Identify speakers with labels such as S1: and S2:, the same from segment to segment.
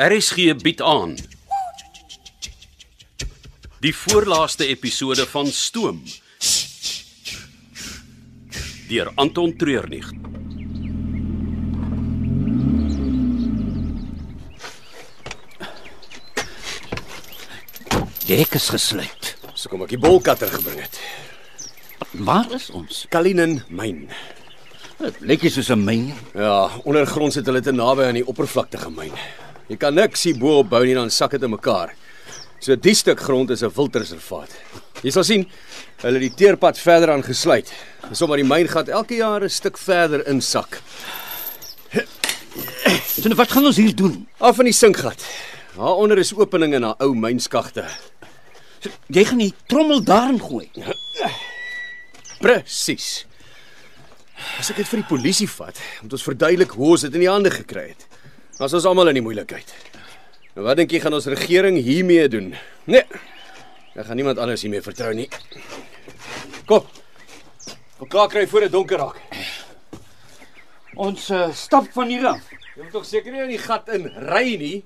S1: RSG bied aan die voorlaaste episode van Stoom deur Anton Treurnig.
S2: Dek is gesluit.
S1: So kom ek die bolkatter gebring het.
S2: Waar is ons?
S1: Kalinin myn.
S2: Dit lyk hier soos 'n myn.
S1: Ja, ondergronds het hulle te naby aan die oppervlakte gemyn. Jy kan niks hier bo op bou nie dan sak dit in mekaar. So die stuk grond is 'n wildreservaat. Jy sal sien, hulle het die teerpad verder aan gesluit. Dis omdat die myngat elke jaar 'n stuk verder insak.
S2: So nou wat gaan ons hier doen?
S1: Af van die sinkgat. Daaronder is openinge na ou mynskagte.
S2: Jy gaan die trommel daarin gooi.
S1: Presies. As ek dit vir die polisie vat, moet ons verduidelik hoe ons dit in die hande gekry het. Dan is ons almal in die moeilikheid. Nou wat dink jy gaan ons regering hiermee doen? Nee. Ek gaan niemand anders hiermee vertrou nie. Kom. Kom klaar kry voor dit donker raak.
S2: Ons uh, stap van hier af.
S1: Jy moet tog seker nie in die gat in ry nie.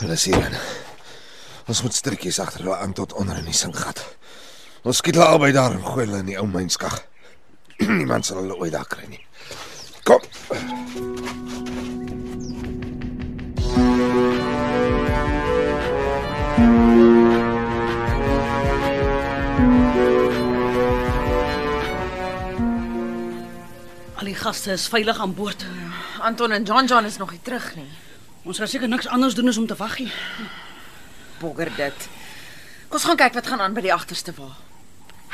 S3: Hulle is hierin. Ons moet strikkies agter hulle aan tot onder in die sinkgat. Ons skiet hulle albei daar en gooi hulle in die ou mynskag. Niemand sal hulle ooit daar kry nie. Kom.
S4: Al die gaste is veilig aan boord.
S5: Anton en John John is nog nie terug nie.
S4: Ons gaan seker niks anders doen as om te wag nie.
S5: Bogger dit. Kom ons gaan kyk wat gaan aan by die agterste wa.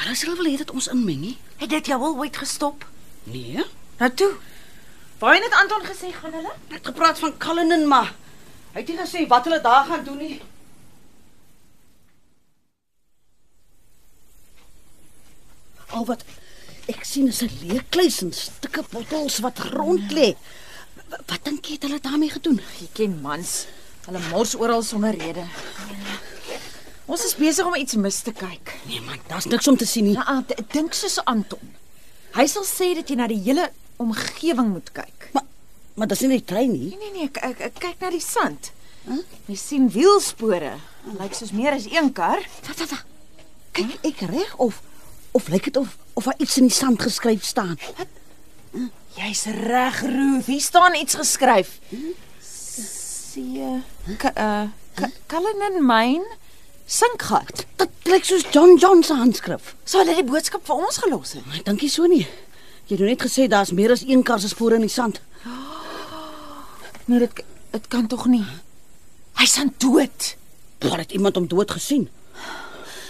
S4: Hulle sal wel hê dat ons inmeng nie.
S5: Het dit jou al ooit gestop?
S4: Nee.
S5: Nou toe. Waarheen het Anton gesê gaan hulle?
S4: Ek het gepraat van Cullinan maar hy het nie gesê wat hulle daar gaan doen nie. Al wat ek sien is 'n leerkluis en stukke bottels wat rond lê. Wa- Wat dink jy het hulle daarmee gedoen?
S5: Jy ken mans. Hulle mors oral sonder rede. Ons is besig om iets mis te kyk.
S4: Nee man, daar's niks om te sien nie.
S5: Ja, d- dink soos Anton. Hy sal sê dat jy na die hele omgewing moet kyk.
S4: Maar maar dis nie die trein nie.
S5: Nee nee nee, ek, ek, ek kyk na die sand. Jy sien wielspore. Lyk soos meer as een kar.
S4: Wat wat? wat? Kyk ek reg of of lyk dit of of daar iets in die sand geskryf staan?
S5: Jy's reg, Ruth. Hier staan iets geskryf. See uh Cullinan myn sinkgat.
S4: Dit klink soos John John se handskrif.
S5: Sou hulle die boodskap vir ons gelos het?
S4: Ek dink nie so nie. Jy het nou net gesê daar's meer as een kar se spore in die sand.
S5: Nee, dit dit kan tog nie. Hy's aan dood.
S4: Daar het iemand hom dood gesien.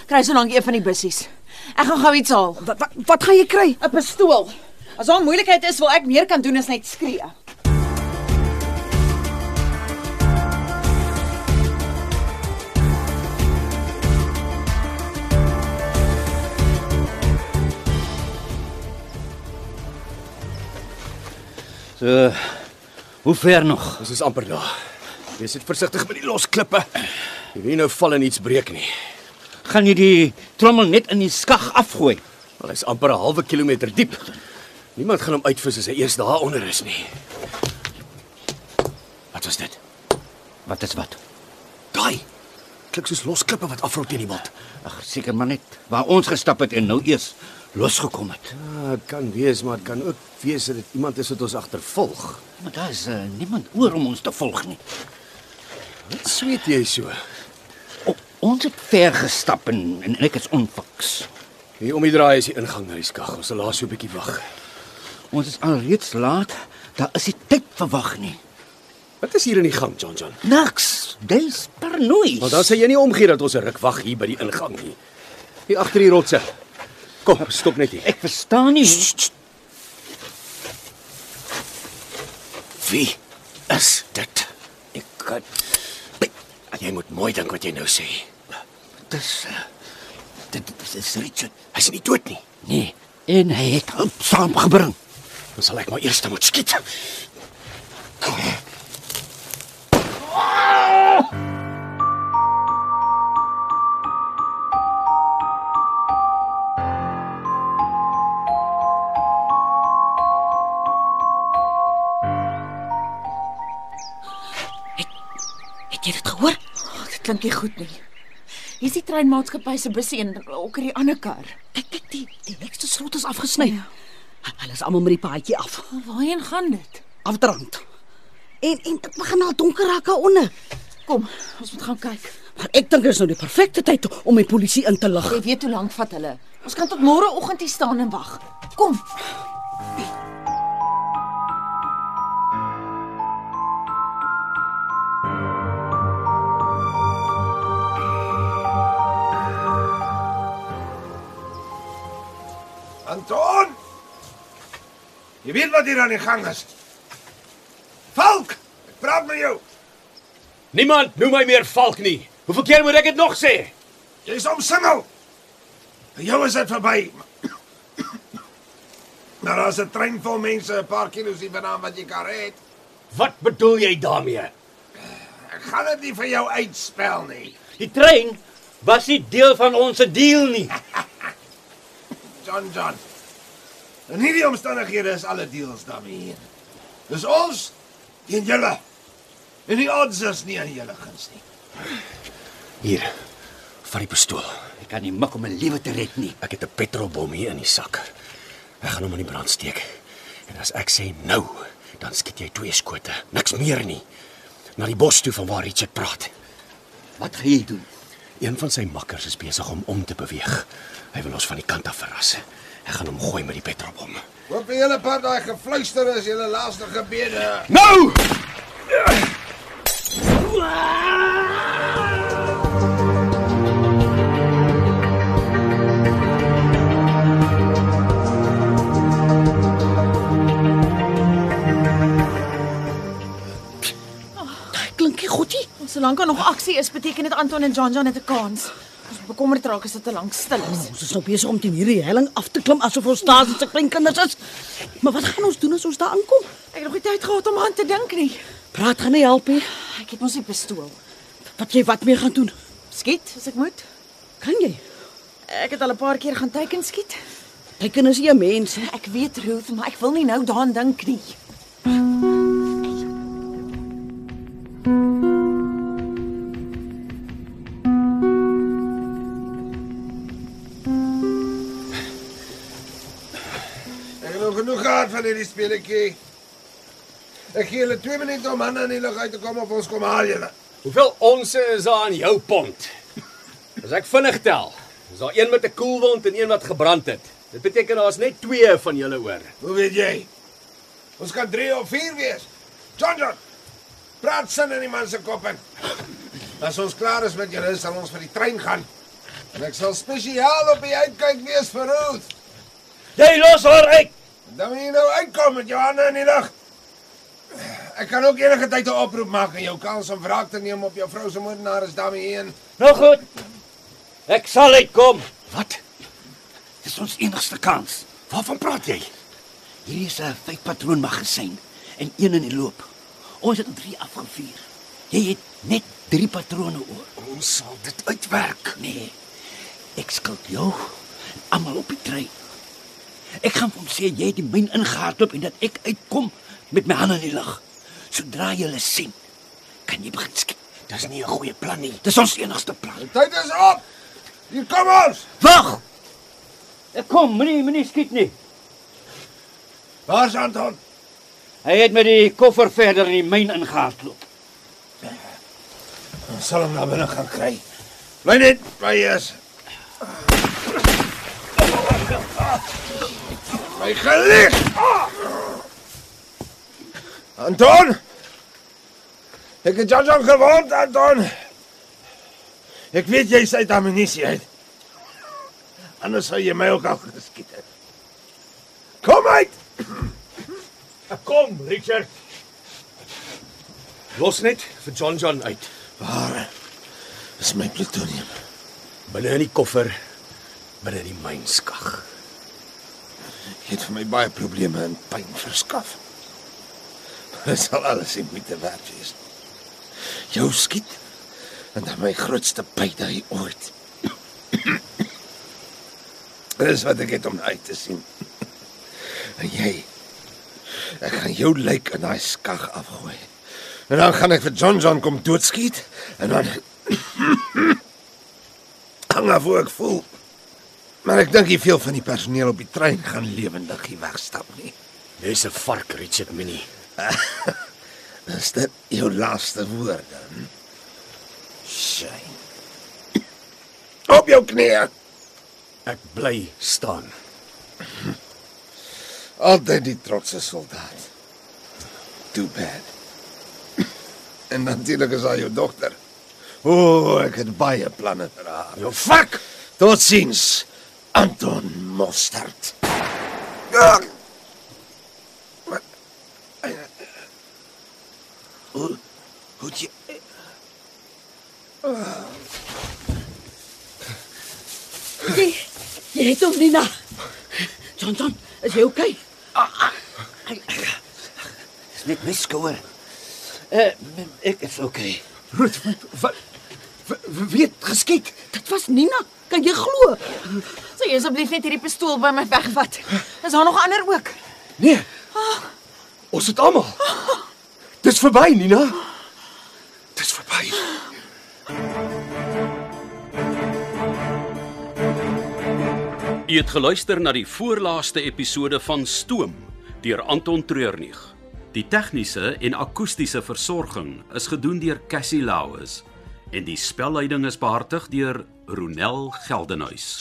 S5: Kry so lank een van die bussies. Ek gaan gou iets haal.
S4: Wat wat, wat gaan jy kry?
S5: 'n Pistool. As daar moeilikheid is, wil ek meer kan doen as net skree.
S2: So hoe ver nog?
S1: Ons is amper daar. Wees net versigtig met die los klippe. Jy wil nie nou val en iets breek nie.
S2: Gaan jy die trommel net in die skag afgooi?
S1: Wel, hy's amper 'n halwe kilometer diep. Niemand gaan hom uitvis as hy eers daaronder is nie. Wat was dit?
S2: Wat is wat?
S1: Daai. Klink soos los klippe wat afrol teen die wind.
S2: Ag, seker maar net waar ons gestap het en nou eers losgekom het.
S1: Ja, dit kan wees, maar dit kan ook wees dat dit iemand is wat ons agtervolg.
S2: Maar daar is uh, niemand oor om ons te volg nie.
S1: Wat sweet jy so?
S2: O, ons het ver gestap en, en ek is onfiks.
S1: Hier om die draai is die ingang na die skag. Ons sal daar so 'n bietjie wag.
S2: Ons is alreeds laat. Daar is nie tyd vir wag nie.
S1: Wat is hier in die gang, John John?
S2: Niks. Dis parnooi.
S1: Want dan sê jy nie omgee dat ons 'n ruk wag hier by die ingang nie. Hier agter die rotse. Kom, stop net hier.
S2: ek verstaan nie.
S1: Wie is dit? Ek kan Jy moet mooi dink wat jy nou sê.
S2: Dis eh, dit dit is Richard.
S1: Hy's nie dood nie.
S2: Nee, en hy het hulp saamgebring.
S1: Dan sal ek maar eers moet skiet.
S5: klink nie goed nie. Hier's die treinmaatskappy se busse en ook hierdie ander kar.
S4: Kyk, kyk, die die lekste slot is afgesny. Ja. Hulle is almal met die paadjie af.
S5: Waarheen gaan dit?
S4: Afdrand. En en dit begin al donker raak daar onder.
S5: Kom, ons moet gaan kyk.
S4: Maar ek dink is nou die perfekte tyd om die polisie in te lig.
S5: Jy weet hoe lank vat hulle. Ons kan tot môre oggend hier staan en wag. Kom.
S3: Anton! Jy weet wat hier aan die gang is. Valk, ek praat met jou.
S1: Niemand noem my meer valk nie. Hoeveel keer moet ek dit nog sê?
S3: Jy's omsingel. Vir jou is dit verby. Nou daar's 'n trein vol mense, 'n paar kilos hier vanaand wat jy kan red.
S1: Wat bedoel jy daarmee?
S3: Ek gaan dit nie vir jou uitspel nie.
S6: Die trein was nie deel van ons se deal nie.
S3: John John. In hierdie omstandighede is alle deals daarmee hier. Dis ons teen julle. En die odds is nie aan julle guns nie.
S1: Hier. Vat die pistool.
S2: Ek kan nie mik om 'n lewe te red nie.
S1: Ek het 'n petrolbom hier in die sak. Ek gaan hom in die brand steek. En as ek sê nou, dan skiet jy twee skote, niks meer nie. Na die bos toe van waar Richard praat.
S2: Wat gaan jy doen?
S1: Een van sy makkers is besig om om te beweeg. Hy wil ons van die kant af verras. Ek gaan hom gooi met die petrolbom.
S3: Hoop die hele pad daai gefluister is julle laaste gebede.
S1: Nou!
S4: Klink nie goed nie.
S5: Ons solank daar nog aksie is, beteken dit Anton en John John het 'n kans. Ons moet bekommerd raak as dit te lank stil is.
S4: Ons is nou besig om teen hierdie helling af te klim asof ons tasens se klein kinders is. Maar wat gaan ons doen as ons daar aankom?
S5: Ek het nog nie tyd gehad om aan te dink nie.
S4: Praat gaan nie help nie.
S5: Ek het mos die pistool.
S4: Wat jy wat mee gaan doen?
S5: Skiet as ek moet.
S4: Kan jy?
S5: Ek het al 'n paar keer gaan teiken skiet.
S4: Jy kan as jy 'n mens.
S5: Ek weet Ruth, maar ek wil nie nou daaraan dink nie.
S3: Ek het nou genoeg gehad van hierdie speletjie. Ek gee julle 2 minute om hande in die lug uit te kom of ons kom haal julle.
S1: Hoeveel onsse is daar aan jou pond? As ek vinnig tel, is daar een met 'n koelwond en een wat gebrand het. Dit beteken daar's net 2 van julle oor.
S3: Hoe weet jy? Ons kan 3 of 4 wees. John John. Praat sin in die man se kop in. As ons klaar is met julle, sal ons vir die trein gaan. En ek sal spesiaal op die uitkyk wees vir Ruth.
S6: Jy los haar uit.
S3: Dan moet jy nou uitkom met jou hande in die lug. Ek kan ook enige tyd 'n oproep maak en jou kans om wraak te neem op jou vrou se moordenaar is daarmee een.
S6: Nou goed. Ek sal uitkom.
S2: Wat? Dis ons enigste kans.
S1: Waarvan praat jy?
S2: Hierdie is 'n vyfpatroon magasin en een in die loop. Ons het drie afgevuur. Jy het net drie patrone oor.
S1: Ons sal dit uitwerk.
S2: Nee. Ek skuld jou en almal op die trein. Ek gaan vir hom sê jy het die myn ingehardloop en dat ek uitkom met my hande in die lug. Sodra jy hulle sien, kan jy begin skiet.
S1: Dis nie 'n goeie plan nie.
S2: Dis ons enigste plan.
S3: Die tyd is op. Hier kom ons.
S2: Wag!
S6: Ek kom, moenie moenie skiet nie.
S3: Waar's Anton?
S6: Hy het met die koffer verder in die myn ingehardloop.
S3: Ons sal hom na binne gaan kry. Bly net by hy is. My gelig. Anton! Ek het jou al gewond, Anton. Ek weet jy's uit amnisie uit. Anders sou jy my ook al geskiet het. Kom uit.
S6: Kom, Richard.
S1: Los net vir John John uit.
S3: Waar is my plutonium?
S1: Binne in die koffer, binne in die mynskag.
S3: Jy het vir my baie probleme en pyn verskaf. Maar dit sal alles in moeite werd wees. Jou skiet en dan my grootste bydaai ooit. Dis wat ek het om uit te sien. En jy ek gaan jou lijk in daai skag afgooi. En dan gaan ek vir John John kom doodskiet en dan Hang af hoe ek voel. Maar ek dink nie veel van die personeel op die trein gaan lewendig hier wegstap nie.
S1: Dis 'n vark, Richard Minnie.
S3: Is dit jou laaste woorde? hm? Shame. Op jou knieë.
S1: Ek bly staan.
S3: Altyd die trotse soldaat. Too bad. En natuurlik is haar jou dogter. O, oh, ek het baie planne vir haar.
S1: Jou vark.
S3: Totsiens, Anton Mostert. Ag. Wat? Ai, eh, Hoe hoe het jy
S4: Jy, jy het hom nie na. John John, is jy okay?
S6: Dis net my skouer. Uh, ek is okay.
S1: Ruth, wat weet geskiet?
S4: Dit was Nina. Kan jy glo?
S5: Sal jy asseblief net hierdie pistool by my wegvat? Is daar nog ander ook?
S1: Nee. Ons het almal. Dis verby, Nina. Dis verby.
S7: U het geluister na die voorlaaste episode van Stoom deur Anton Treurnig. Die tegniese en akoestiese versorging is gedoen deur Cassie Lauis en die spelleiding is behartig deur Ronel Geldenhuys.